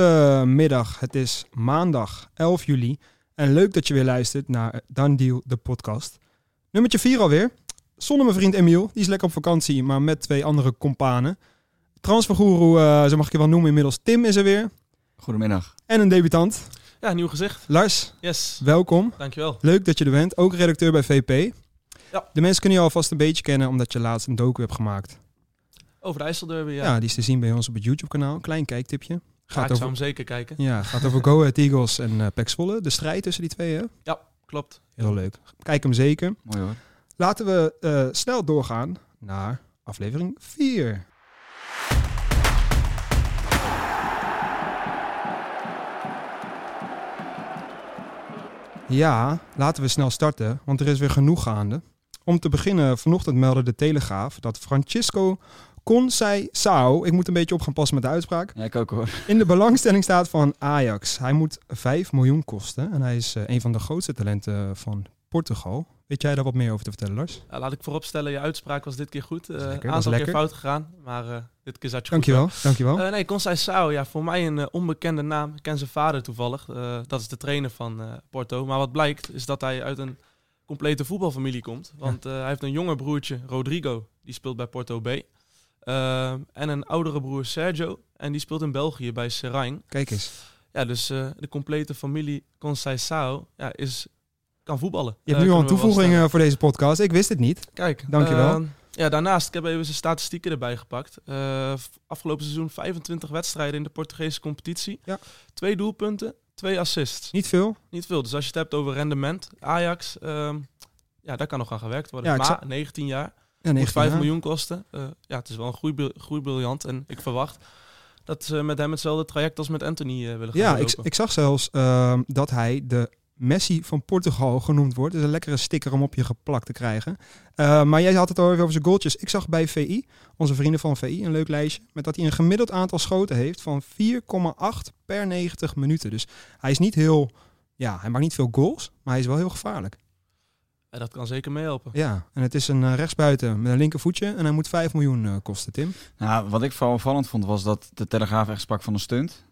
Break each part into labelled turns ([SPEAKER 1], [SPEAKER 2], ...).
[SPEAKER 1] Goedemiddag, het is maandag 11 juli en leuk dat je weer luistert naar Dan Deal, de podcast. Nummertje 4 alweer. Zonder mijn vriend Emiel, die is lekker op vakantie, maar met twee andere companen. Transfergoeroe, eh, zo mag ik je wel noemen inmiddels, Tim is er weer.
[SPEAKER 2] Goedemiddag.
[SPEAKER 1] En een debutant,
[SPEAKER 3] Ja, nieuw gezicht.
[SPEAKER 1] Lars,
[SPEAKER 3] Yes,
[SPEAKER 1] welkom.
[SPEAKER 3] dankjewel.
[SPEAKER 1] Leuk dat je er bent, ook redacteur bij VP.
[SPEAKER 3] Ja.
[SPEAKER 1] De mensen kunnen je alvast een beetje kennen omdat je laatst een docu hebt gemaakt.
[SPEAKER 3] Over de IJsselderby, ja.
[SPEAKER 1] Ja,
[SPEAKER 3] ja
[SPEAKER 1] die is te zien bij ons op het YouTube kanaal, klein kijktipje.
[SPEAKER 3] ik
[SPEAKER 1] Gaat
[SPEAKER 3] zou
[SPEAKER 1] over,
[SPEAKER 3] hem zeker kijken.
[SPEAKER 1] ja, gaat over Go Ahead Eagles en eh Pek Zwolle, de strijd tussen die twee hè?
[SPEAKER 3] Klopt.
[SPEAKER 1] Heel leuk. Kijk hem zeker.
[SPEAKER 2] Mooi hoor.
[SPEAKER 1] Laten we eh, snel doorgaan naar aflevering 4. Ja, laten we snel starten, want er is weer genoeg gaande. Om te beginnen, vanochtend meldde de Telegraaf dat Francisco Consei Sao, ik moet een beetje op gaan passen met de uitspraak,
[SPEAKER 2] Ja, ik ook hoor.
[SPEAKER 1] in de belangstelling staat van Ajax. Hij moet 5 miljoen kosten. En hij is eh, een van de grootste talenten eh, van Portugal. Weet jij daar wat meer over te vertellen, Lars?
[SPEAKER 3] Ja, laat ik vooropstellen, je uitspraak was dit keer goed. Eh,
[SPEAKER 1] is lekker,
[SPEAKER 3] Een
[SPEAKER 1] dat is
[SPEAKER 3] aantal keer
[SPEAKER 1] lekker.
[SPEAKER 3] fout gegaan, maar eh, dit keer zat je goed.
[SPEAKER 1] Dankjewel. Dankjewel.
[SPEAKER 3] Eh, nee, Consai Sao, ja, voor mij een eh, onbekende naam. Ik ken zijn vader toevallig. Eh, dat is de trainer van eh, Porto. Maar wat blijkt is dat hij uit een complete voetbalfamilie komt. Want eh, hij heeft een jonger broertje, Rodrigo, die speelt bij Porto B. Eh, en een oudere broer, Sergio, en die speelt in België bij Seraing.
[SPEAKER 1] Kijk eens.
[SPEAKER 3] Ja, dus eh, de complete familie Consai Sao ja, is, kan voetballen.
[SPEAKER 1] Je hebt nu al een toevoeging eh, voor deze podcast. Ik wist het niet.
[SPEAKER 3] Kijk,
[SPEAKER 1] dankjewel.
[SPEAKER 3] eh, ja, daarnaast, ik heb even zijn statistieken erbij gepakt. Eh, v- afgelopen seizoen 25 wedstrijden in de Portugese competitie.
[SPEAKER 1] Ja.
[SPEAKER 3] Twee doelpunten, twee assists.
[SPEAKER 1] Niet veel.
[SPEAKER 3] Niet veel. Dus als je het hebt over rendement, Ajax, ehm, ja, daar kan nog aan gewerkt worden.
[SPEAKER 1] Ja, ik
[SPEAKER 3] maar
[SPEAKER 1] zou-
[SPEAKER 3] 19 jaar,
[SPEAKER 1] Ja,
[SPEAKER 3] moet
[SPEAKER 1] 19
[SPEAKER 3] 5
[SPEAKER 1] jaar.
[SPEAKER 3] miljoen kosten. Eh, ja, het is wel een groeibil- groeibriljant. En ik verwacht dat ze met hem hetzelfde traject als met Anthony eh, willen gaan
[SPEAKER 1] Ja, ik,
[SPEAKER 3] doorlopen.
[SPEAKER 1] ik zag zelfs ehm, dat hij de Messi van Portugal genoemd wordt. Dat is een lekkere sticker om op je geplakt te krijgen. Eh, maar jij had het al even over zijn goaltjes. Ik zag bij VI, onze vrienden van VI, een leuk lijstje. Met dat hij een gemiddeld aantal schoten heeft van 4,8 per 90 minuten. Dus hij is niet heel... Ja, hij maakt niet veel goals, maar hij is wel heel gevaarlijk.
[SPEAKER 3] En dat kan zeker meehelpen.
[SPEAKER 1] Ja, en het is een eh, rechtsbuiten met een linkervoetje. En hij moet 5 miljoen eh, kosten, Tim.
[SPEAKER 2] Nou, wat ik vooral opvallend vond was dat de Telegraaf echt sprak van een stunt.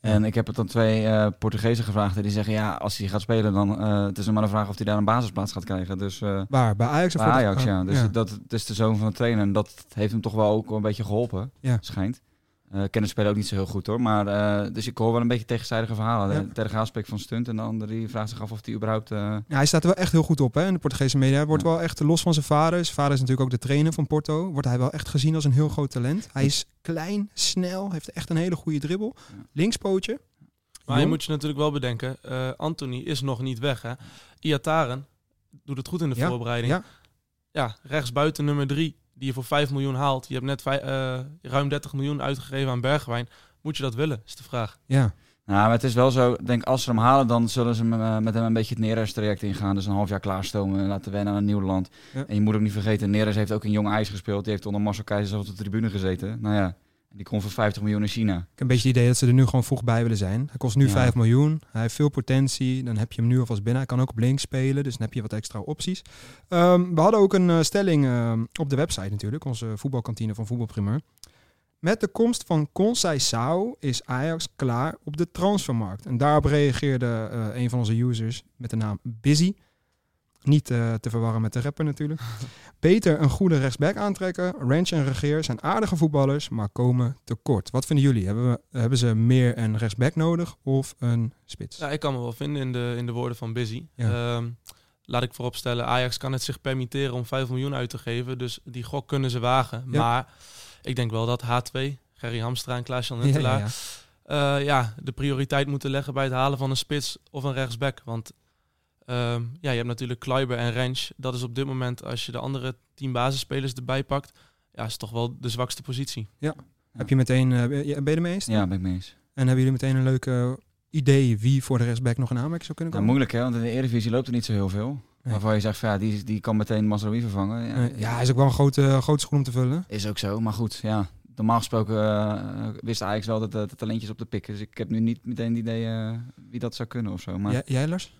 [SPEAKER 2] En ik heb het aan twee eh Portugezen gevraagd en die zeggen ja, als hij gaat spelen dan eh, het is nog maar een vraag of hij daar een basisplaats gaat krijgen. Dus eh,
[SPEAKER 1] Waar? Bij Ajax? of
[SPEAKER 2] bij
[SPEAKER 1] voor de-
[SPEAKER 2] Ajax,
[SPEAKER 1] eh,
[SPEAKER 2] ja. Dus Dat, het is de zoon van de trainer en dat heeft hem toch wel ook een beetje geholpen,
[SPEAKER 1] Ja.
[SPEAKER 2] schijnt. Eh ik ken het spelen ook niet zo heel goed hoor, maar eh, dus ik hoor wel een beetje tegenstrijdige verhalen.
[SPEAKER 1] Ja.
[SPEAKER 2] De Telegraaf spreekt van stunt en de andere die vraagt zich af of hij überhaupt... eh,
[SPEAKER 1] Ja, hij staat er wel echt heel goed op hè? in de Portugese media. Hij wordt wel echt los van zijn vader. Zijn vader is natuurlijk ook de trainer van Porto. Wordt hij wel echt gezien als een heel groot talent. Hij is klein, snel, heeft echt een hele goede dribbel.
[SPEAKER 2] Ja.
[SPEAKER 1] Linkspootje.
[SPEAKER 3] Maar je
[SPEAKER 1] Jong.
[SPEAKER 3] moet je natuurlijk wel bedenken, eh, Anthony is nog niet weg. Hè? Iataren doet het goed in de
[SPEAKER 1] Ja,
[SPEAKER 3] voorbereiding.
[SPEAKER 1] ja.
[SPEAKER 3] Ja. rechtsbuiten nummer drie, die je voor 5 miljoen haalt. Je hebt net vij- eh, ruim 30 miljoen uitgegeven aan Bergwijn. Moet je dat willen, is de vraag.
[SPEAKER 1] Ja,
[SPEAKER 2] Nou, maar het is wel zo. Ik denk, als ze hem halen, dan zullen ze hem, eh, met hem een beetje het Neres-traject ingaan. Dus een half jaar klaarstomen en laten wennen aan een nieuw land.
[SPEAKER 1] Ja.
[SPEAKER 2] En je moet ook niet vergeten, Neres heeft ook in Jong IJs gespeeld. Die heeft onder Marcel Keizer zelfs op de tribune gezeten. Nou ja, die kon voor 50 miljoen in China.
[SPEAKER 1] ik heb een beetje het idee dat ze er nu gewoon vroeg bij willen zijn. Hij kost nu
[SPEAKER 2] Ja.
[SPEAKER 1] 5 miljoen. Hij heeft veel potentie. Dan heb je hem nu alvast binnen. Hij kan ook op links spelen, dus dan heb je wat extra opties. Ehm, we hadden ook een eh, stelling ehm, op de website natuurlijk. Onze voetbalkantine van Voetbalprimeur. Met de komst van Consai Sao is Ajax klaar op de transfermarkt. En daarop reageerde eh, een van onze users met de naam Busy. Niet eh, te verwarren met de rapper natuurlijk. Beter een goede rechtsback aantrekken. Ranch en Regeer zijn aardige voetballers, maar komen tekort. Wat vinden jullie? Hebben, we, hebben ze meer een rechtsback nodig of een spits?
[SPEAKER 3] Ja, ik kan me wel vinden in de, in de woorden van Busy.
[SPEAKER 1] Ja.
[SPEAKER 3] Ehm, laat ik vooropstellen, Ajax kan het zich permitteren om 5 miljoen uit te geven. Dus die gok kunnen ze wagen.
[SPEAKER 1] Ja.
[SPEAKER 3] Maar ik denk wel dat H2, Gerry Hamstra en Klaas-Jan
[SPEAKER 1] Ja,
[SPEAKER 3] Huntelaar...
[SPEAKER 1] ja, ja.
[SPEAKER 3] eh, ja, de prioriteit moeten leggen bij het halen van een spits of een rechtsback. Want ehm, ja, je hebt natuurlijk Kleiber en Rens. Dat is op dit moment, als je de andere tien basisspelers erbij pakt, ja, is toch wel de zwakste positie.
[SPEAKER 1] Heb je meteen, eh, ben je ben je er mee eens?
[SPEAKER 2] Ja, ben ik mee eens.
[SPEAKER 1] En hebben jullie meteen een leuk eh, idee wie voor de rechtsback nog een aanmerking zou kunnen
[SPEAKER 2] Nou,
[SPEAKER 1] komen?
[SPEAKER 2] moeilijk hè, want in de Eredivisie loopt er niet zo heel veel.
[SPEAKER 1] Nee.
[SPEAKER 2] Waarvan je zegt, van, ja, die, die kan meteen Masraoui vervangen. Ja,
[SPEAKER 1] Nee, Eh, ja, hij is ook wel een grote, eh, grote schoen om te vullen.
[SPEAKER 2] Is ook zo, maar goed, ja. Normaal gesproken eh, wist Ajax wel dat eh, de talentjes op de pik. Dus ik heb nu niet meteen het idee eh, wie dat zou kunnen of zo. Maar
[SPEAKER 1] Jij, jij, Lars?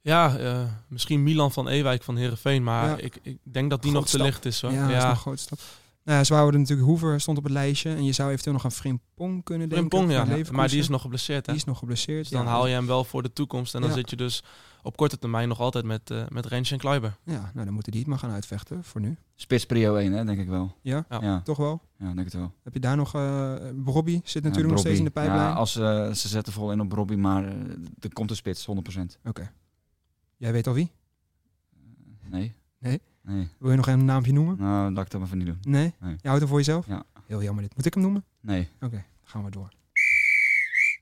[SPEAKER 3] Ja, eh, misschien Milan van Ewijk van Herenveen, maar
[SPEAKER 1] Ja.
[SPEAKER 3] ik, ik denk dat die
[SPEAKER 1] Groot
[SPEAKER 3] nog te
[SPEAKER 1] stap.
[SPEAKER 3] licht is. Hoor.
[SPEAKER 1] ja,
[SPEAKER 3] Ja,
[SPEAKER 1] dat is nog een grote stap. Nou ja, ze wouden natuurlijk Hoever stond op het lijstje. En je zou eventueel nog aan Frimpong kunnen denken.
[SPEAKER 3] Frimpong,
[SPEAKER 1] van
[SPEAKER 3] ja. ja,
[SPEAKER 1] Leverkusen.
[SPEAKER 3] Maar die is nog geblesseerd, hè?
[SPEAKER 1] Die is nog geblesseerd.
[SPEAKER 3] Dus dan
[SPEAKER 1] ja.
[SPEAKER 3] haal je hem wel voor de toekomst. En dan
[SPEAKER 1] Ja.
[SPEAKER 3] zit je dus op korte termijn nog altijd met, eh met Rens en Kluiber.
[SPEAKER 1] Ja, nou dan moeten die het maar gaan uitvechten voor nu.
[SPEAKER 2] Spits prio 1, hè, denk ik wel.
[SPEAKER 1] Ja?
[SPEAKER 2] Ja,
[SPEAKER 3] Ja.
[SPEAKER 2] ja,
[SPEAKER 1] Toch wel?
[SPEAKER 2] denk het wel.
[SPEAKER 1] Heb je daar nog... eh Robbie zit natuurlijk
[SPEAKER 2] Ja,
[SPEAKER 1] nog steeds in de
[SPEAKER 2] Brobbey.
[SPEAKER 1] pijplijn.
[SPEAKER 2] Ja, als, eh, ze zetten vol in op Robbie, maar eh, er komt een spits, 100%.
[SPEAKER 1] Jij weet al wie?
[SPEAKER 2] Nee?
[SPEAKER 1] Nee?
[SPEAKER 2] Nee.
[SPEAKER 1] Wil je nog een naampje noemen?
[SPEAKER 2] Nou, laat ik dat maar van niet doen.
[SPEAKER 1] Nee?
[SPEAKER 2] Nee.
[SPEAKER 1] Je houdt hem voor jezelf?
[SPEAKER 2] Ja.
[SPEAKER 1] Heel jammer dit. Moet ik hem noemen?
[SPEAKER 2] Nee.
[SPEAKER 1] Oké, dan gaan we door.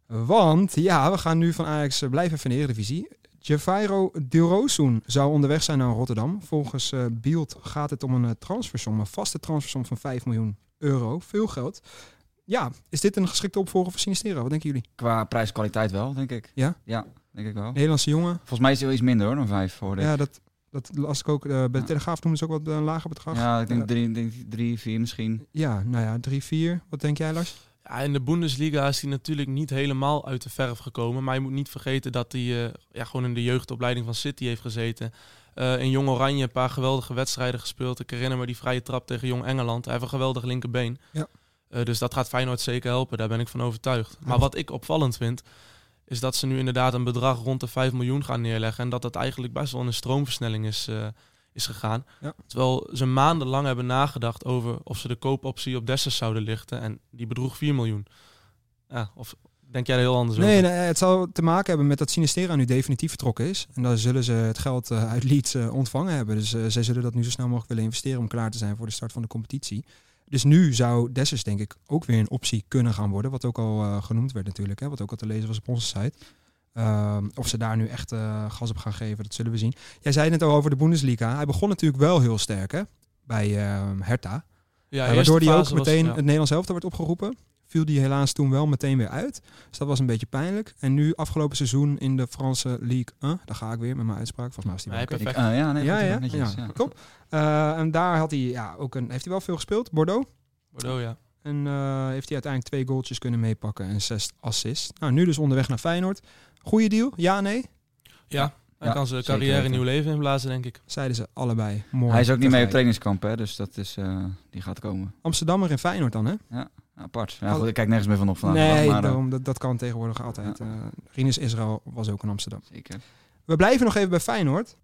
[SPEAKER 1] Want ja, we gaan nu van Ajax eh, blijven van de Eredivisie. Javairo Dilrosun zou onderweg zijn naar Rotterdam. Volgens eh Bielt gaat het om een eh, transfersom, een vaste transfersom van 5 miljoen euro. Veel geld. Ja, is dit een geschikte opvolger voor Sinistera? Wat denken jullie?
[SPEAKER 2] Qua prijs-kwaliteit wel, denk ik.
[SPEAKER 1] Ja?
[SPEAKER 2] Ja, denk ik wel.
[SPEAKER 1] Nederlandse jongen.
[SPEAKER 2] Volgens mij is hij wel iets minder hoor, dan 5 hoorde ik.
[SPEAKER 1] Ja, dat, dat las ik ook. eh, bij de
[SPEAKER 2] Ja.
[SPEAKER 1] Telegraaf noemen ze ook wat eh, een lager bedrag. Ja.
[SPEAKER 2] Ja, ik denk 3, 3 4 misschien.
[SPEAKER 1] nou Eh, ja, 3, 4. Wat denk jij, Lars?
[SPEAKER 3] Ja, in de Bundesliga is hij natuurlijk niet helemaal uit de verf gekomen. Maar je moet niet vergeten dat hij eh, ja, gewoon in de jeugdopleiding van City heeft gezeten. Eh, in Jong Oranje een paar geweldige wedstrijden gespeeld. Ik herinner me die vrije trap tegen Jong Engeland. Hij heeft een geweldig linkerbeen.
[SPEAKER 1] Ja.
[SPEAKER 3] Eh, dus dat gaat Feyenoord zeker helpen, daar ben ik van overtuigd.
[SPEAKER 1] Ja.
[SPEAKER 3] Maar wat ik opvallend vind, is dat ze nu inderdaad een bedrag rond de 5 miljoen gaan neerleggen. En dat dat eigenlijk best wel in een stroomversnelling is, eh, is gegaan.
[SPEAKER 1] Ja.
[SPEAKER 3] Terwijl ze maandenlang hebben nagedacht over of ze de koopoptie op Dessers zouden lichten. En die bedroeg 4 miljoen. Ja, of denk jij er heel anders
[SPEAKER 1] Nee,
[SPEAKER 3] over?
[SPEAKER 1] nee, het zal te maken hebben met dat Sinistera nu definitief vertrokken is. En dan zullen ze het geld eh, uit Leeds eh, ontvangen hebben. Dus eh, zij zullen dat nu zo snel mogelijk willen investeren om klaar te zijn voor de start van de competitie. Dus nu zou Dessers denk ik ook weer een optie kunnen gaan worden. Wat ook al eh, genoemd werd natuurlijk. Hè, wat ook al te lezen was op onze site. Ehm, of ze daar nu echt eh, gas op gaan geven, dat zullen we zien. Jij zei het al over de Bundesliga. Hij begon natuurlijk wel heel sterk hè, bij ehm, Hertha.
[SPEAKER 3] Ja,
[SPEAKER 1] Ja,
[SPEAKER 3] eerste
[SPEAKER 1] waardoor hij ook
[SPEAKER 3] fase was-
[SPEAKER 1] meteen
[SPEAKER 3] ja.
[SPEAKER 1] het Nederlands elftal werd opgeroepen. Viel die helaas toen wel meteen weer uit. Dus dat was een beetje pijnlijk. En nu afgelopen seizoen in de Franse League 1. Daar ga ik weer met mijn uitspraak. Volgens mij was die wel
[SPEAKER 3] Nee,
[SPEAKER 1] oké.
[SPEAKER 2] Ik,
[SPEAKER 3] Perfect.
[SPEAKER 2] eh, ja, nee,
[SPEAKER 1] Ja,
[SPEAKER 2] goed,
[SPEAKER 1] ja,
[SPEAKER 2] netjes,
[SPEAKER 1] ja.
[SPEAKER 2] ja.
[SPEAKER 1] Top. Eh, en daar had hij, ja, ook een, heeft hij wel veel gespeeld. Bordeaux.
[SPEAKER 3] Bordeaux, ja.
[SPEAKER 1] En eh, heeft hij uiteindelijk twee goaltjes kunnen meepakken en zes assists. Nou, nu dus onderweg naar Feyenoord. Goeie deal? Ja, nee?
[SPEAKER 3] Ja, hij
[SPEAKER 2] Ja,
[SPEAKER 3] kan zijn
[SPEAKER 2] zeker
[SPEAKER 3] carrière
[SPEAKER 2] weten.
[SPEAKER 3] nieuw leven inblazen, denk ik.
[SPEAKER 1] Zeiden ze allebei. Mooi.
[SPEAKER 2] Hij is ook niet mee
[SPEAKER 1] tegelijk.
[SPEAKER 2] op trainingskamp, hè, dus dat is, eh, die gaat komen.
[SPEAKER 1] Amsterdammer in Feyenoord dan, hè?
[SPEAKER 2] Apart. Ja, goed, ik kijk nergens meer van op vandaag.
[SPEAKER 1] nee,
[SPEAKER 2] maar, eh,
[SPEAKER 1] daarom, dat, dat kan tegenwoordig altijd. Eh Rinus Israël was ook in Amsterdam.
[SPEAKER 2] zeker.
[SPEAKER 1] We blijven nog even bij Feyenoord.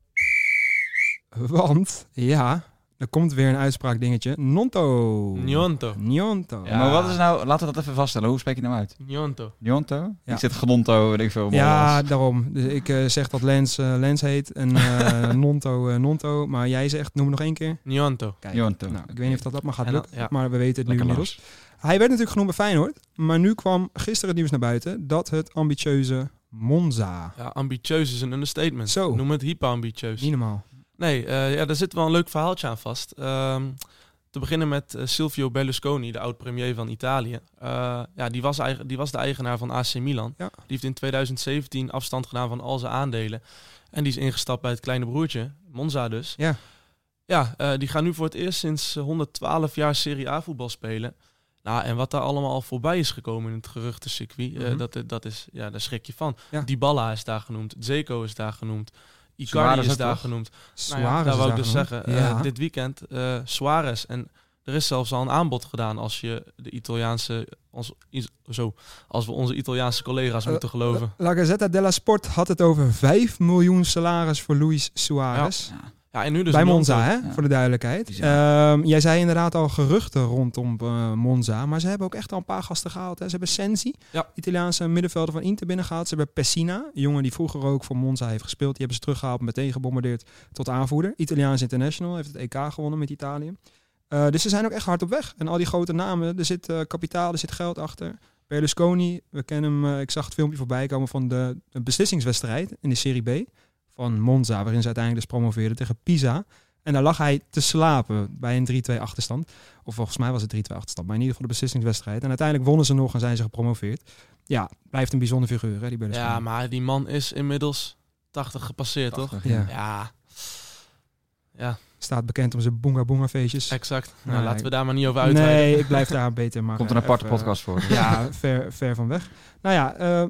[SPEAKER 1] Want, ja, er komt weer een uitspraak dingetje. Nonto.
[SPEAKER 3] Njonto.
[SPEAKER 1] Njonto.
[SPEAKER 3] Ja.
[SPEAKER 2] Maar wat is nou, laten we dat even vaststellen. Hoe spreek je nou uit?
[SPEAKER 3] Njonto.
[SPEAKER 2] Jonto?
[SPEAKER 1] Ja.
[SPEAKER 2] Ik zit Gnonto, weet ik veel.
[SPEAKER 1] Ja,
[SPEAKER 2] Mollas.
[SPEAKER 1] daarom. Dus ik eh, zeg dat Lens eh, Lens heet en eh, Nonto eh, Nonto. Maar jij zegt, noem hem nog één keer.
[SPEAKER 3] Njonto.
[SPEAKER 1] Kijk,
[SPEAKER 2] Jonto.
[SPEAKER 1] nou, ik weet niet of dat dat maar gaat
[SPEAKER 3] En dan-
[SPEAKER 1] lukken,
[SPEAKER 3] ja.
[SPEAKER 1] maar we weten het nu
[SPEAKER 2] Lekker
[SPEAKER 1] inmiddels.
[SPEAKER 2] Lars.
[SPEAKER 1] Hij werd natuurlijk genoemd bij Feyenoord, maar nu kwam gisteren het nieuws naar buiten dat het ambitieuze Monza.
[SPEAKER 3] Ja, ambitieus is een understatement.
[SPEAKER 1] Zo.
[SPEAKER 3] Noem het hyperambitieus.
[SPEAKER 1] Niet normaal.
[SPEAKER 3] Nee, eh, ja, daar zit wel een leuk verhaaltje aan vast. Ehm, te beginnen met eh, Silvio Berlusconi, de oud-premier van Italië. Eh, ja, die, was eigen, die was de eigenaar van AC Milan.
[SPEAKER 1] Ja.
[SPEAKER 3] Die heeft in 2017 afstand gedaan van al zijn aandelen. En die is ingestapt bij het kleine broertje, Monza dus.
[SPEAKER 1] Ja.
[SPEAKER 3] Ja, eh, die gaan nu voor het eerst sinds eh, 112 jaar Serie A voetbal spelen. Nou, en wat daar allemaal al voorbij is gekomen in het geruchtencircuit, eh,
[SPEAKER 1] Mhm.
[SPEAKER 3] dat, dat is, ja, daar schrik je van.
[SPEAKER 1] Ja.
[SPEAKER 3] Dybala is daar genoemd, Zeko is daar genoemd, Icardi
[SPEAKER 2] Suarez
[SPEAKER 3] is
[SPEAKER 2] ook
[SPEAKER 3] daar
[SPEAKER 2] toch?
[SPEAKER 3] genoemd. Nou
[SPEAKER 1] Suarez
[SPEAKER 3] ja,
[SPEAKER 1] is
[SPEAKER 3] dat wou ik
[SPEAKER 1] daar
[SPEAKER 3] dus
[SPEAKER 1] genoemd.
[SPEAKER 3] zeggen. Eh,
[SPEAKER 1] Ja.
[SPEAKER 3] dit weekend eh Suarez. En er is zelfs al een aanbod gedaan als je de Italiaanse. Ons, is- zo, als we onze Italiaanse collega's
[SPEAKER 1] Eh,
[SPEAKER 3] moeten geloven.
[SPEAKER 1] La Gazzetta della Sport had het over 5 miljoen salaris voor Luis Suarez.
[SPEAKER 2] Ja.
[SPEAKER 3] Ja, en nu dus
[SPEAKER 1] Bij
[SPEAKER 3] Nantes.
[SPEAKER 1] Monza, hè?
[SPEAKER 2] Ja.
[SPEAKER 1] voor de duidelijkheid. Ehm, jij zei inderdaad al geruchten rondom eh, Monza. Maar ze hebben ook echt al een paar gasten gehaald. Hè? Ze hebben Sensi,
[SPEAKER 3] Ja.
[SPEAKER 1] Italiaanse middenvelder van Inter, binnengehaald. Ze hebben Pessina, een jongen die vroeger ook voor Monza heeft gespeeld. Die hebben ze teruggehaald, meteen gebombardeerd tot aanvoerder. Italiaans international, heeft het EK gewonnen met Italië. Eh, dus ze zijn ook echt hard op weg. En al die grote namen, er zit eh, kapitaal, er zit geld achter. Berlusconi, we kennen hem. eh, ik zag het filmpje voorbij komen van de een beslissingswedstrijd in de Serie B van Monza, waarin ze uiteindelijk dus promoveerden tegen Pisa. En daar lag hij te slapen bij een 3-2 achterstand. Of volgens mij was het 3-2 achterstand, maar in ieder geval de beslissingswedstrijd. En uiteindelijk wonnen ze nog en zijn ze gepromoveerd. Ja, blijft een bijzonder figuur, hè, die Berlusconi.
[SPEAKER 3] Ja, maar die man is inmiddels 80 gepasseerd, toch?
[SPEAKER 2] Prachtig,
[SPEAKER 1] Ja.
[SPEAKER 3] Ja,
[SPEAKER 1] Staat bekend om zijn boonga boonga feestjes.
[SPEAKER 3] exact. Nou,
[SPEAKER 1] Nee.
[SPEAKER 3] laten we daar maar niet over uitweiden.
[SPEAKER 1] Nee, ik blijf daar beter maar
[SPEAKER 2] Komt een
[SPEAKER 1] eh,
[SPEAKER 2] aparte
[SPEAKER 1] even-
[SPEAKER 2] podcast voor.
[SPEAKER 1] Ja, ver, ver van weg. Nou ja, eh,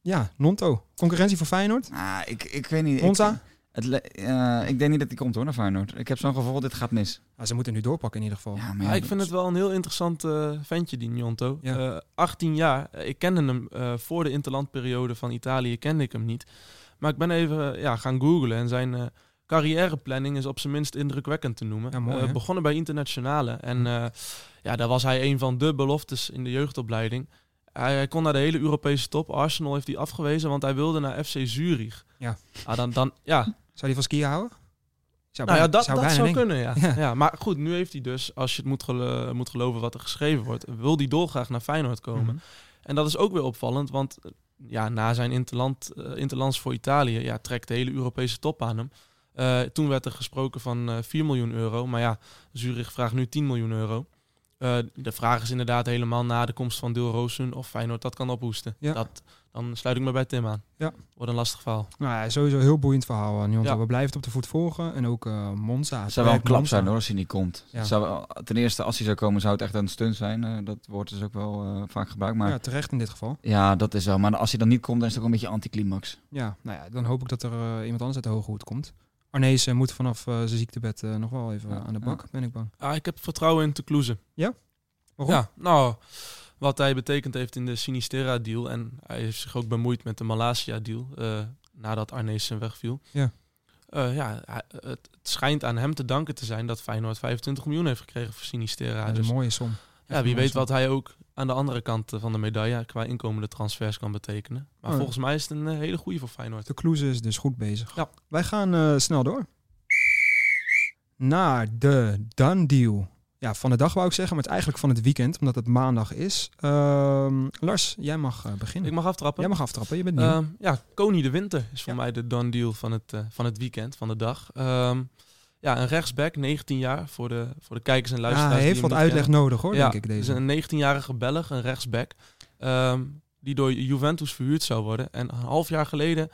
[SPEAKER 1] ja, Nonto. Concurrentie voor Feyenoord.
[SPEAKER 2] Ah, ik, ik weet niet. ik-
[SPEAKER 1] Monza?
[SPEAKER 2] Het le- eh, ik denk niet dat hij komt hoor, naar Feyenoord. Ik heb zo'n gevoel, dit gaat mis.
[SPEAKER 1] Ja, ze moeten nu doorpakken in ieder geval.
[SPEAKER 2] Ja, maar
[SPEAKER 3] Ja,
[SPEAKER 2] ja,
[SPEAKER 3] Ah, ik vind het wel een heel interessant eh, ventje, die Njonto.
[SPEAKER 1] Ja.
[SPEAKER 3] Eh, 18 jaar. Eh, Ik kende hem eh, voor de interlandperiode van Italië, kende ik hem niet. Maar ik ben even eh, ja, gaan googlen en zijn eh, carrièreplanning is op zijn minst indrukwekkend te noemen.
[SPEAKER 1] Ja, mooi,
[SPEAKER 3] Eh,
[SPEAKER 1] hè? Hm.
[SPEAKER 3] begonnen bij Internationale en eh, ja, daar was hij een van de beloftes in de jeugdopleiding. Hij, hij kon naar de hele Europese top. Arsenal heeft hij afgewezen, want hij wilde naar FC Zurich.
[SPEAKER 1] Ja.
[SPEAKER 3] Ah, dan, dan, ja,
[SPEAKER 1] Zou die van skiën houden? Zou
[SPEAKER 3] nou ja,
[SPEAKER 1] bijna-
[SPEAKER 3] dat zou, dat
[SPEAKER 1] bijna
[SPEAKER 3] zou
[SPEAKER 1] denken.
[SPEAKER 3] kunnen, ja.
[SPEAKER 1] Ja.
[SPEAKER 3] Ja. Maar goed, nu heeft hij dus, als je het moet, gelo- moet geloven wat er geschreven wordt, wil hij dolgraag naar Feyenoord komen.
[SPEAKER 1] Mhm.
[SPEAKER 3] En dat is ook weer opvallend, want eh, ja, na zijn interland, eh, interlands voor Italië ja, trekt de hele Europese top aan hem. Eh, toen werd er gesproken van eh 4 miljoen euro, maar ja, Zurich vraagt nu 10 miljoen euro. Eh, de vraag is inderdaad helemaal na de komst van Deel Rosun of Feyenoord dat kan ophoesten.
[SPEAKER 1] Ja.
[SPEAKER 3] Dat, dan sluit ik me bij Tim aan.
[SPEAKER 1] Ja.
[SPEAKER 3] Wordt een lastig verhaal.
[SPEAKER 1] Nou ja, sowieso een heel boeiend verhaal, eh, Njonto.
[SPEAKER 3] Ja.
[SPEAKER 1] We blijven het op de voet volgen. En ook eh Monza.
[SPEAKER 2] Het zou wel een klap zijn
[SPEAKER 1] Monza.
[SPEAKER 2] hoor, als hij niet komt.
[SPEAKER 1] Ja.
[SPEAKER 2] Het zou wel- ten eerste, als hij zou komen, zou het echt een stunt zijn. Eh, dat wordt dus ook wel eh, vaak gebruikt. Maar ja.
[SPEAKER 1] Ja, terecht in dit geval.
[SPEAKER 2] dat is wel. Maar als hij dan niet komt, dan is het ook een beetje anticlimax.
[SPEAKER 1] Ja, nou ja, dan hoop ik dat er eh, iemand anders uit de hoge hoed komt. Arnees eh, moet vanaf eh, zijn ziektebed eh, nog wel even
[SPEAKER 2] Ja,
[SPEAKER 1] aan de bak, ben ik bang.
[SPEAKER 3] Ah, ik heb vertrouwen in Toulouse.
[SPEAKER 1] Ja? Waarom?
[SPEAKER 3] Ja, nou, wat hij betekend heeft in de Sinistera-deal. En hij heeft zich ook bemoeid met de Malasia-deal. eh, nadat Arnees zijn wegviel.
[SPEAKER 1] Ja.
[SPEAKER 3] Eh, ja, hij- het, het schijnt aan hem te danken te zijn dat Feyenoord 25 miljoen heeft gekregen voor Sinistera.
[SPEAKER 1] dat is
[SPEAKER 3] dus
[SPEAKER 1] een mooie som.
[SPEAKER 3] ja, wie weet wat hij ook aan de andere kant eh, van de medaille qua inkomende transfers kan betekenen.
[SPEAKER 1] Oh
[SPEAKER 3] Maar
[SPEAKER 1] ja.
[SPEAKER 3] volgens mij is het een eh, hele goede voor Feyenoord.
[SPEAKER 1] De Kloes is dus goed bezig.
[SPEAKER 3] Ja.
[SPEAKER 1] Wij gaan eh, snel door. Naar de done deal. Ja, van de dag wou ik zeggen, maar het is eigenlijk van het weekend, omdat het maandag is. Ehm, Lars, jij mag eh, beginnen.
[SPEAKER 3] Ik mag aftrappen.
[SPEAKER 1] Jij mag aftrappen, je bent nieuw.
[SPEAKER 3] Ehm, ja, Koning de Winter is voor
[SPEAKER 1] Ja.
[SPEAKER 3] mij de done deal van het, eh, van het weekend, van de dag. Ehm, ja, een rechtsback, 19 jaar, voor de, voor de kijkers en
[SPEAKER 1] ja,
[SPEAKER 3] luisteraars.
[SPEAKER 1] hij
[SPEAKER 3] die
[SPEAKER 1] heeft
[SPEAKER 3] hem
[SPEAKER 1] wat
[SPEAKER 3] niet
[SPEAKER 1] uitleg
[SPEAKER 3] kennen.
[SPEAKER 1] nodig hoor,
[SPEAKER 3] ja,
[SPEAKER 1] denk ik
[SPEAKER 3] het is
[SPEAKER 1] deze.
[SPEAKER 3] een 19-jarige Belg, een rechtsback, ehm, die door Juventus verhuurd zou worden. En een half jaar geleden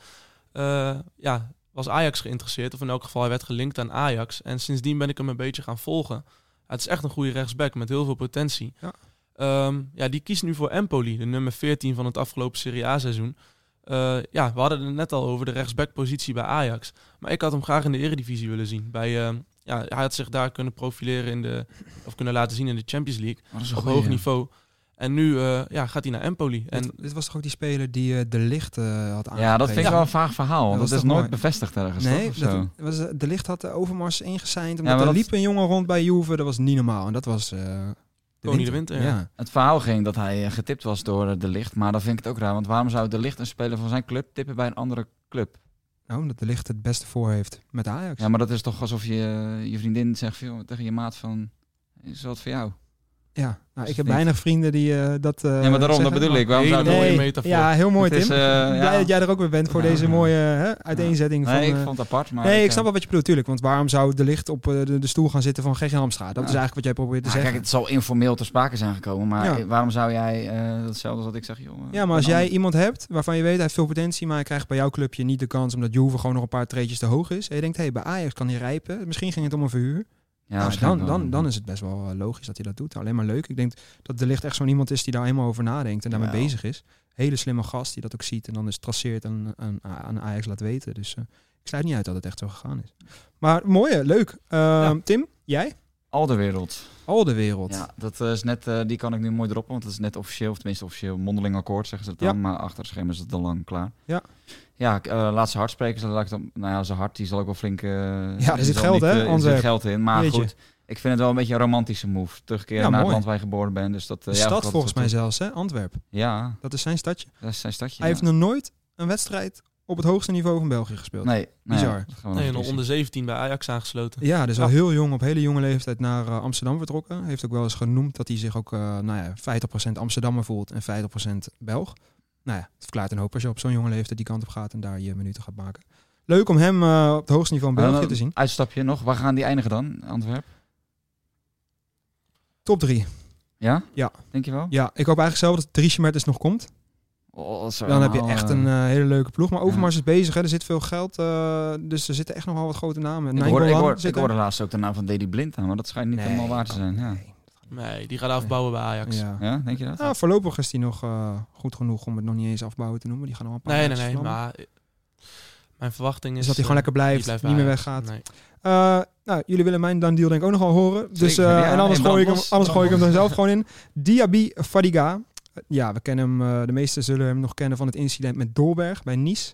[SPEAKER 3] eh, ja, was Ajax geïnteresseerd, of in elk geval hij werd gelinkt aan Ajax. En sindsdien ben ik hem een beetje gaan volgen. Het is echt een goede rechtsback met heel veel potentie.
[SPEAKER 1] Ja.
[SPEAKER 3] Ehm, ja, die kiest nu voor Empoli, de nummer 14 van het afgelopen Serie A-seizoen. Eh, ja, we hadden het net al over de rechtsbackpositie bij Ajax. Maar ik had hem graag in de eredivisie willen zien. Bij, ehm, ja, hij had zich daar kunnen profileren in de, of kunnen laten zien in de Champions League.
[SPEAKER 2] Oh, dat is een
[SPEAKER 3] Op
[SPEAKER 2] goeie.
[SPEAKER 3] hoog niveau. En nu eh, ja, gaat hij naar Empoli. En
[SPEAKER 1] Dit, dit was toch ook die speler die eh, de licht eh, had aangegeven?
[SPEAKER 2] Ja, dat vind ik wel een vaag verhaal.
[SPEAKER 1] Dat
[SPEAKER 2] Dat,
[SPEAKER 1] was
[SPEAKER 2] is
[SPEAKER 1] toch
[SPEAKER 2] nooit
[SPEAKER 1] mooi?
[SPEAKER 2] bevestigd ergens.
[SPEAKER 1] Nee,
[SPEAKER 2] toch, of zo?
[SPEAKER 1] dat was, eh, de licht had de Overmars ingeseind.
[SPEAKER 2] Ja,
[SPEAKER 1] Omdat
[SPEAKER 2] maar
[SPEAKER 1] er
[SPEAKER 2] dat-
[SPEAKER 1] liep een jongen rond bij Juve, dat was niet normaal. En dat was... eh
[SPEAKER 3] de Winter, ja.
[SPEAKER 2] Het verhaal ging dat hij eh, getipt was door eh, De Licht. Maar dan vind ik het ook raar. Want waarom zou De Licht een speler van zijn club tippen bij een andere club?
[SPEAKER 1] Nou, omdat de licht het beste voor heeft met Ajax.
[SPEAKER 2] Ja, maar dat is toch alsof je eh, je vriendin zegt joh, tegen je maat van... Is dat voor jou?
[SPEAKER 1] Ja, nou, ik heb
[SPEAKER 2] niet.
[SPEAKER 1] weinig vrienden die eh, dat. eh,
[SPEAKER 2] ja, maar daarom, dat
[SPEAKER 1] zeggen.
[SPEAKER 2] bedoel ik. Waarom
[SPEAKER 3] Hele
[SPEAKER 2] zou
[SPEAKER 3] mooie
[SPEAKER 1] Nee,
[SPEAKER 3] metafoor.
[SPEAKER 1] Ja, heel mooi,
[SPEAKER 2] Het
[SPEAKER 1] Tim.
[SPEAKER 2] is, eh,
[SPEAKER 1] Blij
[SPEAKER 2] ja.
[SPEAKER 1] dat jij er ook weer bent voor
[SPEAKER 2] Ja.
[SPEAKER 1] deze mooie eh, hè, uiteenzetting.
[SPEAKER 2] Nee,
[SPEAKER 1] van,
[SPEAKER 2] ik eh,
[SPEAKER 1] eh,
[SPEAKER 2] vond het apart. Maar
[SPEAKER 1] nee, ik snap wel wat je bedoelt, natuurlijk. Want waarom zou de licht op eh, de, de stoel gaan zitten van GG Hamstra? Dat is
[SPEAKER 2] Ja.
[SPEAKER 1] eigenlijk wat jij probeert te
[SPEAKER 2] Ja,
[SPEAKER 1] zeggen.
[SPEAKER 2] kijk, het zal informeel ter sprake zijn gekomen, maar
[SPEAKER 1] Ja.
[SPEAKER 2] waarom zou jij eh hetzelfde als wat ik zeg, joh? eh,
[SPEAKER 1] ja, maar als jij iemand hebt waarvan je weet hij heeft veel potentie, maar hij krijgt bij jouw clubje niet de kans omdat Juve gewoon nog een paar treetjes te hoog is. En je denkt, hé, hey, bij Ajax kan hij rijpen. Misschien ging het om een verhuur.
[SPEAKER 2] ja,
[SPEAKER 1] Nou, dan, dan, dan is het best wel eh, logisch dat hij dat doet. Alleen maar leuk. Ik denk dat de licht echt zo'n iemand is die daar helemaal over nadenkt en daarmee
[SPEAKER 2] Jawel.
[SPEAKER 1] bezig is. Hele slimme gast die dat ook ziet en dan is traceert en aan, aan Ajax laat weten. Dus eh, ik sluit niet uit dat het echt zo gegaan is. Maar mooie, leuk. Eh, Tim, jij?
[SPEAKER 2] al de wereld.
[SPEAKER 1] Al de wereld.
[SPEAKER 2] Ja, dat eh, is net, eh, die kan ik nu mooi droppen, want dat is net officieel, of tenminste officieel mondeling akkoord zeggen ze het
[SPEAKER 1] Ja.
[SPEAKER 2] dan, maar achter het scherm is het al lang klaar.
[SPEAKER 1] Ja.
[SPEAKER 2] Ja, ik, eh, laat ze hard spreken, ze laat ik dan, nou ja, zijn hart, die zal ook wel flink. eh, die
[SPEAKER 1] er zit
[SPEAKER 2] zal
[SPEAKER 1] geld,
[SPEAKER 2] niet,
[SPEAKER 1] hè,
[SPEAKER 2] eh, Er
[SPEAKER 1] Antwerp.
[SPEAKER 2] zit geld in, maar
[SPEAKER 1] Jeetje.
[SPEAKER 2] goed. Ik vind het wel een beetje een romantische move. Terugkeren
[SPEAKER 1] Ja,
[SPEAKER 2] naar
[SPEAKER 1] mooi.
[SPEAKER 2] het land waar je geboren bent. Dus dat,
[SPEAKER 1] De
[SPEAKER 2] eh, ja,
[SPEAKER 1] stad
[SPEAKER 2] dat-
[SPEAKER 1] volgens
[SPEAKER 2] dat-
[SPEAKER 1] mij zelfs, hè? Antwerpen.
[SPEAKER 2] Ja,
[SPEAKER 1] Dat is zijn stadje.
[SPEAKER 2] dat is zijn stadje.
[SPEAKER 1] Hij
[SPEAKER 2] ja.
[SPEAKER 1] heeft nog nooit een wedstrijd op het hoogste niveau van België gespeeld.
[SPEAKER 2] Nee, nou ja,
[SPEAKER 1] Bizar.
[SPEAKER 2] dat gaan we nog
[SPEAKER 3] nee,
[SPEAKER 2] een keer
[SPEAKER 3] nog
[SPEAKER 2] zien.
[SPEAKER 3] onder 17 bij Ajax aangesloten.
[SPEAKER 1] Ja, dus
[SPEAKER 3] Ja.
[SPEAKER 1] al heel jong, op hele jonge leeftijd naar eh, Amsterdam vertrokken. Heeft ook wel eens genoemd dat hij zich ook eh, nou ja, 50% Amsterdammer voelt en 50% Belg. Nou ja, het verklaart een hoop als je op zo'n jonge leeftijd die kant op gaat en daar je minuten gaat maken. Leuk om hem eh, op het hoogste niveau in
[SPEAKER 2] Maar dan
[SPEAKER 1] België
[SPEAKER 2] een
[SPEAKER 1] te zien.
[SPEAKER 2] Uitstapje nog. Waar gaan die eindigen dan, Antwerp?
[SPEAKER 1] Top 3.
[SPEAKER 2] Ja?
[SPEAKER 1] Ja.
[SPEAKER 2] Denk je wel?
[SPEAKER 1] Ja, ik hoop eigenlijk zelf dat Dries Mertens nog komt.
[SPEAKER 2] Oh, dat zou
[SPEAKER 1] Dan heb je
[SPEAKER 2] allemaal,
[SPEAKER 1] echt
[SPEAKER 2] eh,
[SPEAKER 1] een eh, hele leuke ploeg. Maar Overmars is bezig, hè. er zit veel geld. eh, dus er zitten echt nogal wat grote namen.
[SPEAKER 2] ik, hoorde, ik,
[SPEAKER 1] Nainggolan
[SPEAKER 2] hoorde,
[SPEAKER 1] zit
[SPEAKER 2] ik
[SPEAKER 1] er.
[SPEAKER 2] hoorde laatst ook de naam van Dedy Blind aan, maar dat schijnt niet
[SPEAKER 1] Nee,
[SPEAKER 2] helemaal waar te
[SPEAKER 1] kan-
[SPEAKER 2] zijn. Ja.
[SPEAKER 1] nee.
[SPEAKER 3] Nee, die gaat afbouwen bij Ajax.
[SPEAKER 1] Ja.
[SPEAKER 2] ja, denk je dat?
[SPEAKER 1] Nou, voorlopig is hij nog eh, goed genoeg om het nog niet eens afbouwen te noemen. Die gaan nog wel een paar
[SPEAKER 3] Nee, nee,
[SPEAKER 1] jaartjes vlammen.
[SPEAKER 3] nee. Maar Mijn verwachting is...
[SPEAKER 1] Dus dat hij gewoon
[SPEAKER 3] eh,
[SPEAKER 1] lekker blijft,
[SPEAKER 3] die blijft bij
[SPEAKER 1] niet meer
[SPEAKER 3] Ajax.
[SPEAKER 1] weggaat.
[SPEAKER 3] Nee.
[SPEAKER 1] Eh, nou, jullie willen mijn dan deal denk ik ook nogal horen. Dus, eh,
[SPEAKER 2] ja,
[SPEAKER 1] en anders,
[SPEAKER 2] en
[SPEAKER 1] gooi ik, hem,
[SPEAKER 2] Brandos.
[SPEAKER 1] anders gooi ik hem dan
[SPEAKER 2] Brandos.
[SPEAKER 1] zelf gewoon in. Diaby Fadiga. Eh, Ja, we kennen hem. eh, de meesten zullen hem nog kennen van het incident met Dolberg bij Nice.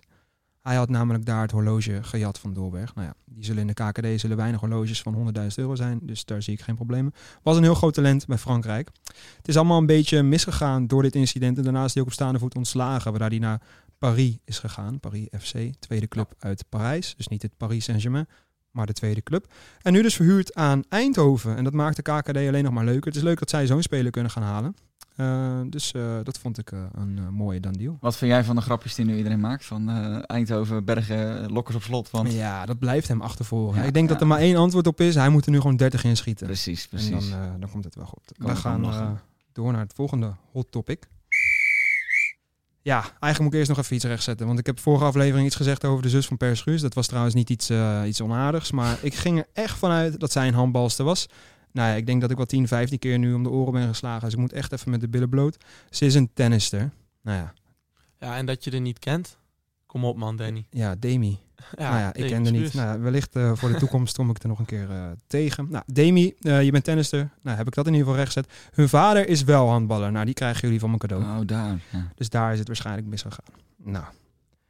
[SPEAKER 1] Hij had namelijk daar het horloge gejat van Dolberg. Nou ja, die zullen in de KKD zullen weinig horloges van 100.000 euro zijn. Dus daar zie ik geen problemen. Was een heel groot talent bij Frankrijk. Het is allemaal een beetje misgegaan door dit incident. En daarna is hij ook op staande voet ontslagen. Waar hij naar Paris is gegaan. Paris FC, tweede club uit Parijs. Dus niet het Paris Saint-Germain, maar de tweede club. En nu dus verhuurd aan Eindhoven. En dat maakt de KKD alleen nog maar leuker. Het is leuk dat zij zo'n speler kunnen gaan halen. Eh, dus eh, dat vond ik eh, een eh, mooie dan deal.
[SPEAKER 2] Wat vind jij van de grapjes die nu iedereen maakt? Van eh, Eindhoven, Bergen, eh, Lokkers op slot. Want...
[SPEAKER 1] Ja, dat blijft hem achtervolgen.
[SPEAKER 2] Ja,
[SPEAKER 1] ik denk
[SPEAKER 2] ja.
[SPEAKER 1] dat er maar één antwoord op is. Hij moet er nu gewoon 30 in schieten.
[SPEAKER 2] Precies,
[SPEAKER 1] en dan,
[SPEAKER 2] precies.
[SPEAKER 1] eh, dan komt het wel goed.
[SPEAKER 2] Kan
[SPEAKER 1] We
[SPEAKER 2] ik wel
[SPEAKER 1] gaan
[SPEAKER 2] lachen.
[SPEAKER 1] eh, door naar het volgende hot topic. Ja, eigenlijk moet ik eerst nog even iets rechtzetten. Want ik heb vorige aflevering iets gezegd over de zus van Per Schuurs. Dat was trouwens niet iets, eh, iets onaardigs. Maar ik ging er echt vanuit dat zij een handbalster was. Nou ja, ik denk dat ik wel 10, 15 keer nu om de oren ben geslagen. Dus ik moet echt even met de billen bloot. Ze is een tennister. Nou ja,
[SPEAKER 3] Ja, en dat je er niet kent. Kom op man, Danny.
[SPEAKER 1] ja Demi.
[SPEAKER 3] Ja,
[SPEAKER 1] nou ja, ik
[SPEAKER 3] Demi
[SPEAKER 1] kende
[SPEAKER 3] Schuurs.
[SPEAKER 1] niet. Nou, ja, wellicht eh, voor de toekomst kom ik er nog een keer eh, tegen. Nou, Demi, eh, je bent tennister. Nou, heb ik dat in ieder geval rechtgezet. Hun vader is wel handballer. Nou, die krijgen jullie van mijn cadeau.
[SPEAKER 2] Oh, daar. Ja.
[SPEAKER 1] Dus daar is het waarschijnlijk misgegaan. Nou,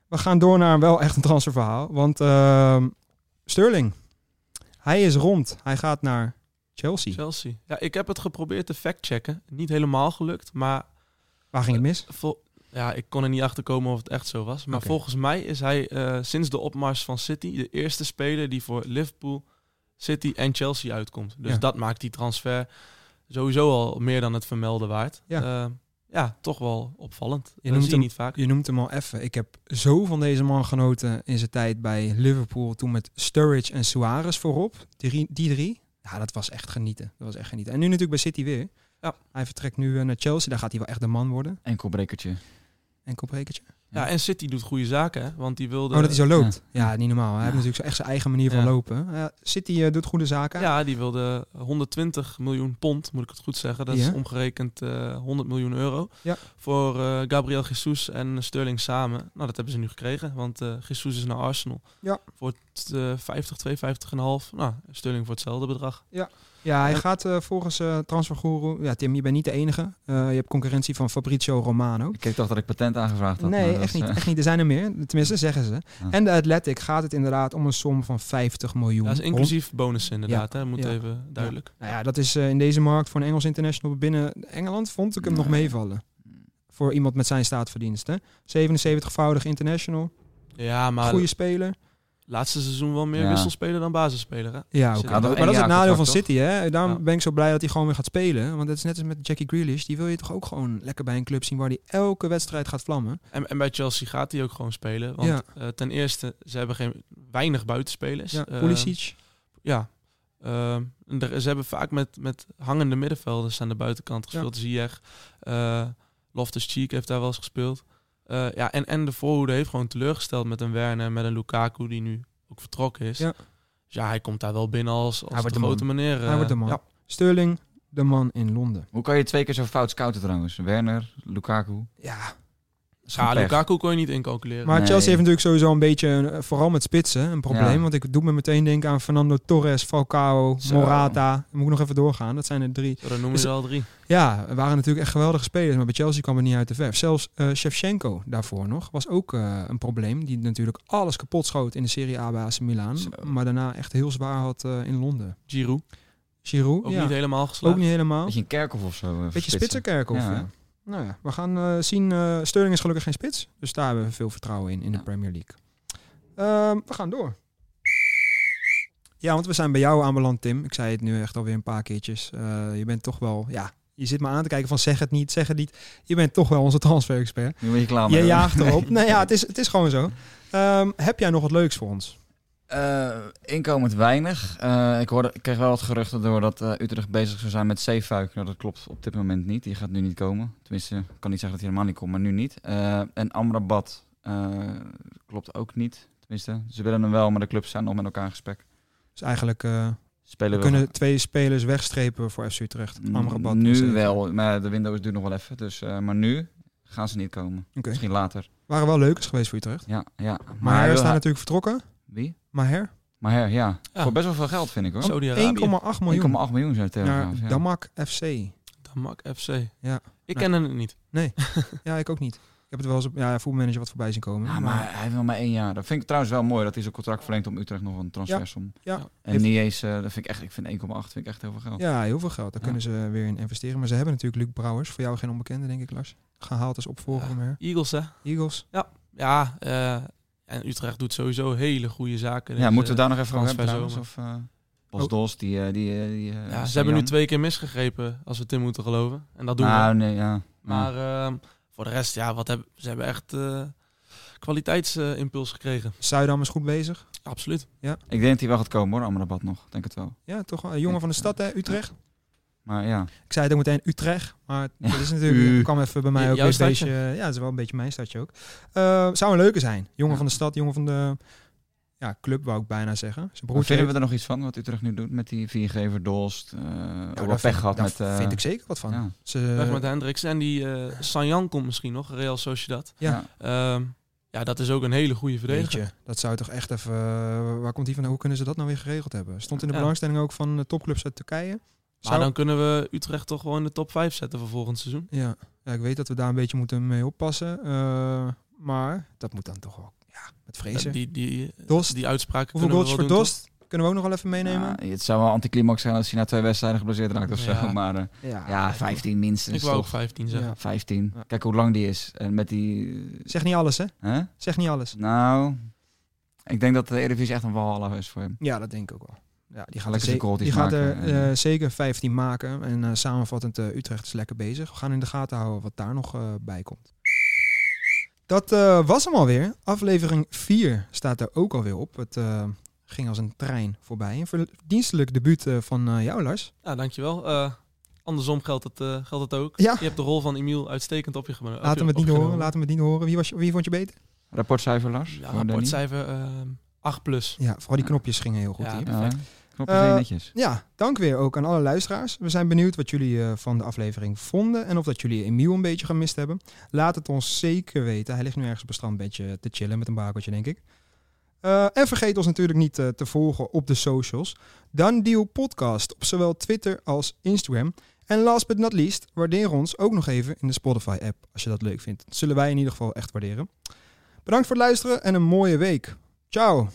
[SPEAKER 1] we gaan door naar wel echt een transferverhaal. Want ehm, Sterling, hij is rond. Hij gaat naar Chelsea.
[SPEAKER 3] Chelsea. Ja, ik heb het geprobeerd te factchecken. Niet helemaal gelukt, maar
[SPEAKER 1] Waar ging het mis?
[SPEAKER 3] vol- ja, ik kon er niet achter komen of het echt zo was. Maar
[SPEAKER 1] Oké.
[SPEAKER 3] volgens mij is hij eh, sinds de opmars van City de eerste speler die voor Liverpool, City en Chelsea uitkomt. Dus
[SPEAKER 1] Ja.
[SPEAKER 3] dat maakt die transfer sowieso al meer dan het vermelden waard.
[SPEAKER 1] Ja.
[SPEAKER 3] Eh, ja toch wel opvallend.
[SPEAKER 1] Je
[SPEAKER 3] dat
[SPEAKER 1] noemt
[SPEAKER 3] zie je
[SPEAKER 1] hem-
[SPEAKER 3] niet vaak.
[SPEAKER 1] Je noemt hem al even. Ik heb zo van deze man genoten in zijn tijd bij Liverpool. Toen met Sturridge en Suarez voorop. Die, die drie. Ja, dat was echt genieten. Dat was echt genieten. En nu natuurlijk bij City weer.
[SPEAKER 3] Ja.
[SPEAKER 1] Hij vertrekt nu eh, naar Chelsea. Daar gaat hij wel echt de man worden.
[SPEAKER 2] Enkelbrekertje.
[SPEAKER 1] Enkel brekertje.
[SPEAKER 3] Ja, en City doet goede zaken, hè? want die wilde...
[SPEAKER 1] Oh, dat hij zo loopt. Ja,
[SPEAKER 2] Ja.
[SPEAKER 1] niet normaal. Hij heeft natuurlijk zo echt zijn eigen manier van
[SPEAKER 3] Ja.
[SPEAKER 1] lopen. Ja, City eh, doet goede zaken.
[SPEAKER 3] Ja, die wilde 120 miljoen pond, moet ik het goed zeggen. Dat
[SPEAKER 1] Ja.
[SPEAKER 3] is omgerekend eh, 100 miljoen euro.
[SPEAKER 1] Ja.
[SPEAKER 3] Voor eh, Gabriel Jesus en Sterling samen. Nou, dat hebben ze nu gekregen, want eh Jesus is naar Arsenal.
[SPEAKER 1] Ja.
[SPEAKER 3] Voor het, eh, 50, 52,5. Nou, Sterling voor hetzelfde bedrag.
[SPEAKER 1] Ja, hij gaat eh, volgens eh transferguru. Ja, Tim, je bent niet de enige. Eh, je hebt concurrentie van Fabrizio Romano.
[SPEAKER 2] Ik dacht dat ik patent aangevraagd had. maar
[SPEAKER 1] Nee,
[SPEAKER 2] dat
[SPEAKER 1] echt
[SPEAKER 2] is,
[SPEAKER 1] niet,
[SPEAKER 2] eh,
[SPEAKER 1] echt niet. Er zijn er meer. Tenminste, zeggen ze.
[SPEAKER 2] Ja.
[SPEAKER 1] En de Athletic gaat het inderdaad om een som van 50 miljoen.
[SPEAKER 3] Dat is
[SPEAKER 1] pond.
[SPEAKER 3] inclusief bonus inderdaad, hè? moet
[SPEAKER 1] Ja.
[SPEAKER 3] even duidelijk.
[SPEAKER 1] Nou ja, dat is eh, in deze markt voor een Engels international binnen Engeland vond ik hem
[SPEAKER 2] Nee.
[SPEAKER 1] nog meevallen. Voor iemand met zijn staatverdiensten. 77-voudig international.
[SPEAKER 3] Ja, maar
[SPEAKER 1] Goede speler.
[SPEAKER 3] laatste seizoen wel meer
[SPEAKER 2] Ja.
[SPEAKER 3] wisselspeler dan basisspeler, hè?
[SPEAKER 1] Ja,
[SPEAKER 3] Zit
[SPEAKER 1] oké.
[SPEAKER 3] er
[SPEAKER 1] maar maar
[SPEAKER 2] nog één
[SPEAKER 1] dat is
[SPEAKER 2] jaar
[SPEAKER 1] het nadeel van
[SPEAKER 2] contract,
[SPEAKER 1] City. Hè? Daarom
[SPEAKER 3] Ja.
[SPEAKER 1] ben ik zo blij dat hij gewoon weer gaat spelen. Want het is net als met Jackie Grealish. Die wil je toch ook gewoon lekker bij een club zien waar hij elke wedstrijd gaat vlammen.
[SPEAKER 3] En, en bij Chelsea gaat hij ook gewoon spelen. Want
[SPEAKER 1] Ja.
[SPEAKER 3] eh, ten eerste, ze hebben geen, weinig
[SPEAKER 2] Dus,
[SPEAKER 3] buitenspelers.
[SPEAKER 1] Ja,
[SPEAKER 3] Eh,
[SPEAKER 1] Pulisic.
[SPEAKER 3] Ja. Ehm, er- ze hebben vaak met, met hangende middenvelders aan de buitenkant gespeeld. Ziyech, eh, Loftus-Cheek heeft daar wel eens gespeeld. Eh, ja, en, en de voorhoede heeft gewoon teleurgesteld met een Werner, met een Lukaku die nu ook vertrokken is.
[SPEAKER 1] Ja.
[SPEAKER 3] Dus ja, hij komt daar wel binnen als, als
[SPEAKER 1] Hij wordt
[SPEAKER 3] de
[SPEAKER 1] de
[SPEAKER 3] grote meneer.
[SPEAKER 1] Hij
[SPEAKER 3] eh,
[SPEAKER 1] wordt de man.
[SPEAKER 3] ja.
[SPEAKER 1] Sterling, de man in Londen.
[SPEAKER 2] Hoe kan je twee keer zo fout scouten trouwens? Werner, Lukaku.
[SPEAKER 1] Ja,
[SPEAKER 3] Ja,
[SPEAKER 2] Pech.
[SPEAKER 3] Lukaku kon je niet incalculeren.
[SPEAKER 1] Maar
[SPEAKER 2] Nee.
[SPEAKER 1] Chelsea heeft natuurlijk sowieso een beetje, een- vooral met spitsen, een probleem.
[SPEAKER 2] Ja.
[SPEAKER 1] Want ik doe me meteen denken aan Fernando Torres, Falcao,
[SPEAKER 2] Zo.
[SPEAKER 1] Morata. Dan moet ik nog even doorgaan. Dat zijn er drie.
[SPEAKER 3] Zo, dan noemen
[SPEAKER 1] Is-
[SPEAKER 3] ze al drie.
[SPEAKER 1] Ja, er waren natuurlijk echt geweldige spelers. Maar bij Chelsea kwam het niet uit de verf. Zelfs eh Shevchenko daarvoor nog was ook eh, een probleem. Die natuurlijk alles kapot schoot in de Serie A bij AC Milan.
[SPEAKER 2] Zo.
[SPEAKER 1] Maar daarna echt heel zwaar had eh, in Londen.
[SPEAKER 3] Giroud,
[SPEAKER 1] Giroud,
[SPEAKER 3] ook
[SPEAKER 1] ja,
[SPEAKER 3] niet helemaal
[SPEAKER 1] ook
[SPEAKER 3] geslaagd.
[SPEAKER 1] niet helemaal.
[SPEAKER 2] Beetje een kerkhof of zo. eh,
[SPEAKER 1] Beetje
[SPEAKER 2] verspitsen.
[SPEAKER 1] spitsenkerkhof.
[SPEAKER 2] Ja,
[SPEAKER 1] Ja.
[SPEAKER 2] hè?
[SPEAKER 1] Nou ja, we gaan eh, zien. eh Sterling is gelukkig geen spits. Dus daar hebben we veel vertrouwen in, in de
[SPEAKER 2] Ja.
[SPEAKER 1] Premier League. Ehm, we gaan door. Ja, want we zijn bij jou aanbeland, Tim. Ik zei het nu echt alweer een paar keertjes. Eh, je bent toch wel, ja, je zit me aan te kijken van zeg het niet, zeg het niet. Je bent toch wel onze transfer-expert.
[SPEAKER 2] Nu ben je klaar mee,
[SPEAKER 1] Je
[SPEAKER 2] hoor.
[SPEAKER 1] jaagt erop. nou ja, het is, het is gewoon zo. Ehm, heb jij nog wat leuks voor ons?
[SPEAKER 2] Eh, inkomend weinig. Eh, ik, hoorde, ik kreeg wel wat geruchten door dat eh, Utrecht bezig zou zijn met Zeefuik. Nou, dat klopt op dit moment niet. Die gaat nu niet komen. Tenminste, ik kan niet zeggen dat hij helemaal niet komt, maar nu niet. Eh, en Amrabat eh, klopt ook niet. Tenminste, ze willen hem wel, maar de clubs zijn nog met elkaar in gesprek.
[SPEAKER 1] Dus eigenlijk eh, we
[SPEAKER 2] Spelen wil-
[SPEAKER 1] kunnen twee spelers wegstrepen voor FC Utrecht. Amrabat en
[SPEAKER 2] Nu
[SPEAKER 1] Zeefuik.
[SPEAKER 2] wel, maar de window is duurt nog wel even. Dus, eh, maar nu Gaan ze niet komen.
[SPEAKER 1] Oké.
[SPEAKER 2] Misschien later.
[SPEAKER 1] Waren wel leukers geweest voor Utrecht.
[SPEAKER 2] Ja, ja.
[SPEAKER 1] Maar hij
[SPEAKER 2] wil
[SPEAKER 1] is daar
[SPEAKER 2] hij-
[SPEAKER 1] natuurlijk vertrokken.
[SPEAKER 2] Wie?
[SPEAKER 1] Maher.
[SPEAKER 2] Maar ja.
[SPEAKER 3] Ja.
[SPEAKER 2] Voor best wel veel geld vind ik hoor. 1,8
[SPEAKER 3] Saudi-Arabië.
[SPEAKER 1] 1,8 miljoen
[SPEAKER 2] miljoen zijn Telegraaf.
[SPEAKER 1] naar
[SPEAKER 2] Ja.
[SPEAKER 1] Damak FC.
[SPEAKER 3] Damak FC.
[SPEAKER 1] Ja.
[SPEAKER 3] Ik ken hem niet.
[SPEAKER 1] Ja, ik ook niet. Ik heb het wel eens op ja, voetbalmanager wat voorbij zien komen.
[SPEAKER 2] Ja, maar hij heeft nog maar één jaar. Dat vind ik trouwens wel mooi dat hij zijn contract verlengt om Utrecht nog een transfersom.
[SPEAKER 1] Ja.
[SPEAKER 2] En
[SPEAKER 1] Heeft-
[SPEAKER 2] niet eens, eh, dat vind ik echt, ik vind 1,8 vind ik echt heel veel geld.
[SPEAKER 1] ja, heel veel geld. Daar
[SPEAKER 2] Ja.
[SPEAKER 1] kunnen ze weer in investeren. Maar ze hebben natuurlijk Luc Brouwers. Voor jou geen onbekende, denk ik, Lars. Gehaald als opvolger van Maher.
[SPEAKER 3] Eagles, hè?
[SPEAKER 1] Eagles.
[SPEAKER 3] Ja, eh, en Utrecht doet sowieso hele goede zaken.
[SPEAKER 2] Ja,
[SPEAKER 3] Dus,
[SPEAKER 2] moeten we
[SPEAKER 3] eh,
[SPEAKER 2] daar nog even over hebben
[SPEAKER 3] transferzomer.
[SPEAKER 2] trouwens? Of, eh Bas
[SPEAKER 1] Oh.
[SPEAKER 2] Dols, die... eh, die, eh, die eh,
[SPEAKER 3] ja, ze
[SPEAKER 2] Sayan.
[SPEAKER 3] hebben nu twee keer misgegrepen, als we Tim moeten geloven. En dat doen we.
[SPEAKER 2] Nou, nee, ja.
[SPEAKER 3] Maar ehm, voor de rest, ja, wat hebben, ze hebben echt eh, kwaliteitsimpuls gekregen.
[SPEAKER 1] Zuidam is goed bezig.
[SPEAKER 3] Absoluut.
[SPEAKER 2] Ik denk dat hij wel gaat komen hoor, Amrabat nog. Denk het wel.
[SPEAKER 1] Ja, toch wel een jongen van de stad, hè? Utrecht.
[SPEAKER 2] Maar ja,
[SPEAKER 1] Ik zei het ook meteen Utrecht, maar
[SPEAKER 2] Ja.
[SPEAKER 1] dat is natuurlijk,
[SPEAKER 2] U.
[SPEAKER 1] kwam even bij mij
[SPEAKER 3] J-
[SPEAKER 1] ook
[SPEAKER 3] jouw
[SPEAKER 1] weer een
[SPEAKER 3] stadje?
[SPEAKER 1] beetje, ja, het is wel een beetje mijn stadje ook. Eh, zou een leuke zijn. Jongen
[SPEAKER 2] Ja.
[SPEAKER 1] van de stad, jongen van de ja, club, wou ik bijna zeggen. Zijn
[SPEAKER 2] hoe
[SPEAKER 1] broertje
[SPEAKER 2] vinden we er nog iets van wat Utrecht nu doet met die viergever Dost? eh ook
[SPEAKER 1] daar
[SPEAKER 2] wel
[SPEAKER 1] vind-
[SPEAKER 2] pech gehad
[SPEAKER 1] daar
[SPEAKER 2] met... eh,
[SPEAKER 1] vind ik zeker wat van.
[SPEAKER 2] ja.
[SPEAKER 1] Ze,
[SPEAKER 3] Weg met Hendricks. En die eh Sanjan komt misschien nog, Real Sociedad.
[SPEAKER 1] Ja.
[SPEAKER 3] Ehm, ja, dat is ook een hele goede verdediger.
[SPEAKER 1] Jeetje, dat zou toch echt even... eh, waar komt die van? Hoe kunnen ze dat nou weer geregeld hebben? Stond in de
[SPEAKER 3] Ja.
[SPEAKER 1] belangstelling ook van eh, topclubs uit Turkije.
[SPEAKER 3] Maar dan kunnen we Utrecht toch gewoon in de top 5 zetten voor volgend seizoen.
[SPEAKER 1] ja. ja, ik weet dat we daar een beetje moeten mee oppassen. eh, maar dat moet dan toch wel ja, met vrezen.
[SPEAKER 3] Eh, Die, die,
[SPEAKER 1] Dost,
[SPEAKER 3] die uitspraken
[SPEAKER 1] hoeveel
[SPEAKER 3] kunnen
[SPEAKER 1] goals
[SPEAKER 3] we
[SPEAKER 1] voor
[SPEAKER 3] wel doen,
[SPEAKER 1] Dost? Kunnen we ook nog wel even meenemen?
[SPEAKER 2] Ja, het zou wel anticlimax zijn als hij na twee wedstrijden geblesseerd raakt of
[SPEAKER 3] Ja.
[SPEAKER 2] zo. Maar eh, ja, 15
[SPEAKER 3] toch?
[SPEAKER 2] minstens.
[SPEAKER 3] Ik wou ook
[SPEAKER 2] toch?
[SPEAKER 3] 15 zeggen.
[SPEAKER 1] Ja.
[SPEAKER 2] 15.
[SPEAKER 1] Ja.
[SPEAKER 2] Kijk hoe lang die is. En met die...
[SPEAKER 1] Zeg niet alles, hè?
[SPEAKER 2] Hè?
[SPEAKER 1] Zeg niet alles.
[SPEAKER 2] Nou, ik denk dat de Eredivisie echt een walhalla is voor hem.
[SPEAKER 1] Ja, dat denk ik ook wel. Ja, die gaat
[SPEAKER 2] Lekker
[SPEAKER 1] er,
[SPEAKER 2] zijn
[SPEAKER 1] zeker,
[SPEAKER 2] goaltjes
[SPEAKER 1] die gaat er
[SPEAKER 2] maken en-
[SPEAKER 1] eh, zeker 15 maken. En eh, samenvattend, eh, Utrecht is lekker bezig. We gaan in de gaten houden wat daar nog eh, bij komt. Dat eh, was hem alweer. Aflevering 4 staat er ook alweer op. Het eh, ging als een trein voorbij. Een verdienstelijk debuut eh, van eh, jou, Lars.
[SPEAKER 3] Ja, dankjewel. Eh, andersom geldt het, eh, geldt het ook.
[SPEAKER 1] Ja.
[SPEAKER 3] Je hebt de rol van Emiel uitstekend op je gema- op
[SPEAKER 1] Laat
[SPEAKER 3] je-
[SPEAKER 1] hem het niet
[SPEAKER 3] opgenomen.
[SPEAKER 1] horen. Laat hem het niet horen. Wie, was je, wie vond je beter?
[SPEAKER 2] Rapportcijfer, Lars?
[SPEAKER 3] Ja,
[SPEAKER 2] voor Danny?
[SPEAKER 3] rapportcijfer ehm 8 plus.
[SPEAKER 1] Ja, vooral die
[SPEAKER 2] Ja.
[SPEAKER 1] knopjes gingen heel goed
[SPEAKER 3] Ja,
[SPEAKER 1] hier.
[SPEAKER 2] Ja,
[SPEAKER 3] Perfect.
[SPEAKER 2] knopjes
[SPEAKER 1] Eh,
[SPEAKER 2] heel netjes.
[SPEAKER 1] Ja, dank weer ook aan alle luisteraars. We zijn benieuwd wat jullie eh, van de aflevering vonden en of dat jullie Emiel een beetje gemist hebben. Laat het ons zeker weten. Hij ligt nu ergens op een strandbedje te chillen met een bakeltje, denk ik. Eh, en vergeet ons natuurlijk niet eh, te volgen op de socials. Dan Deal Podcast op zowel Twitter als Instagram. En last but not least, waardeer ons ook nog even in de Spotify-app als je dat leuk vindt. Dat zullen wij in ieder geval echt waarderen. Bedankt voor het luisteren en een mooie week. Ciao!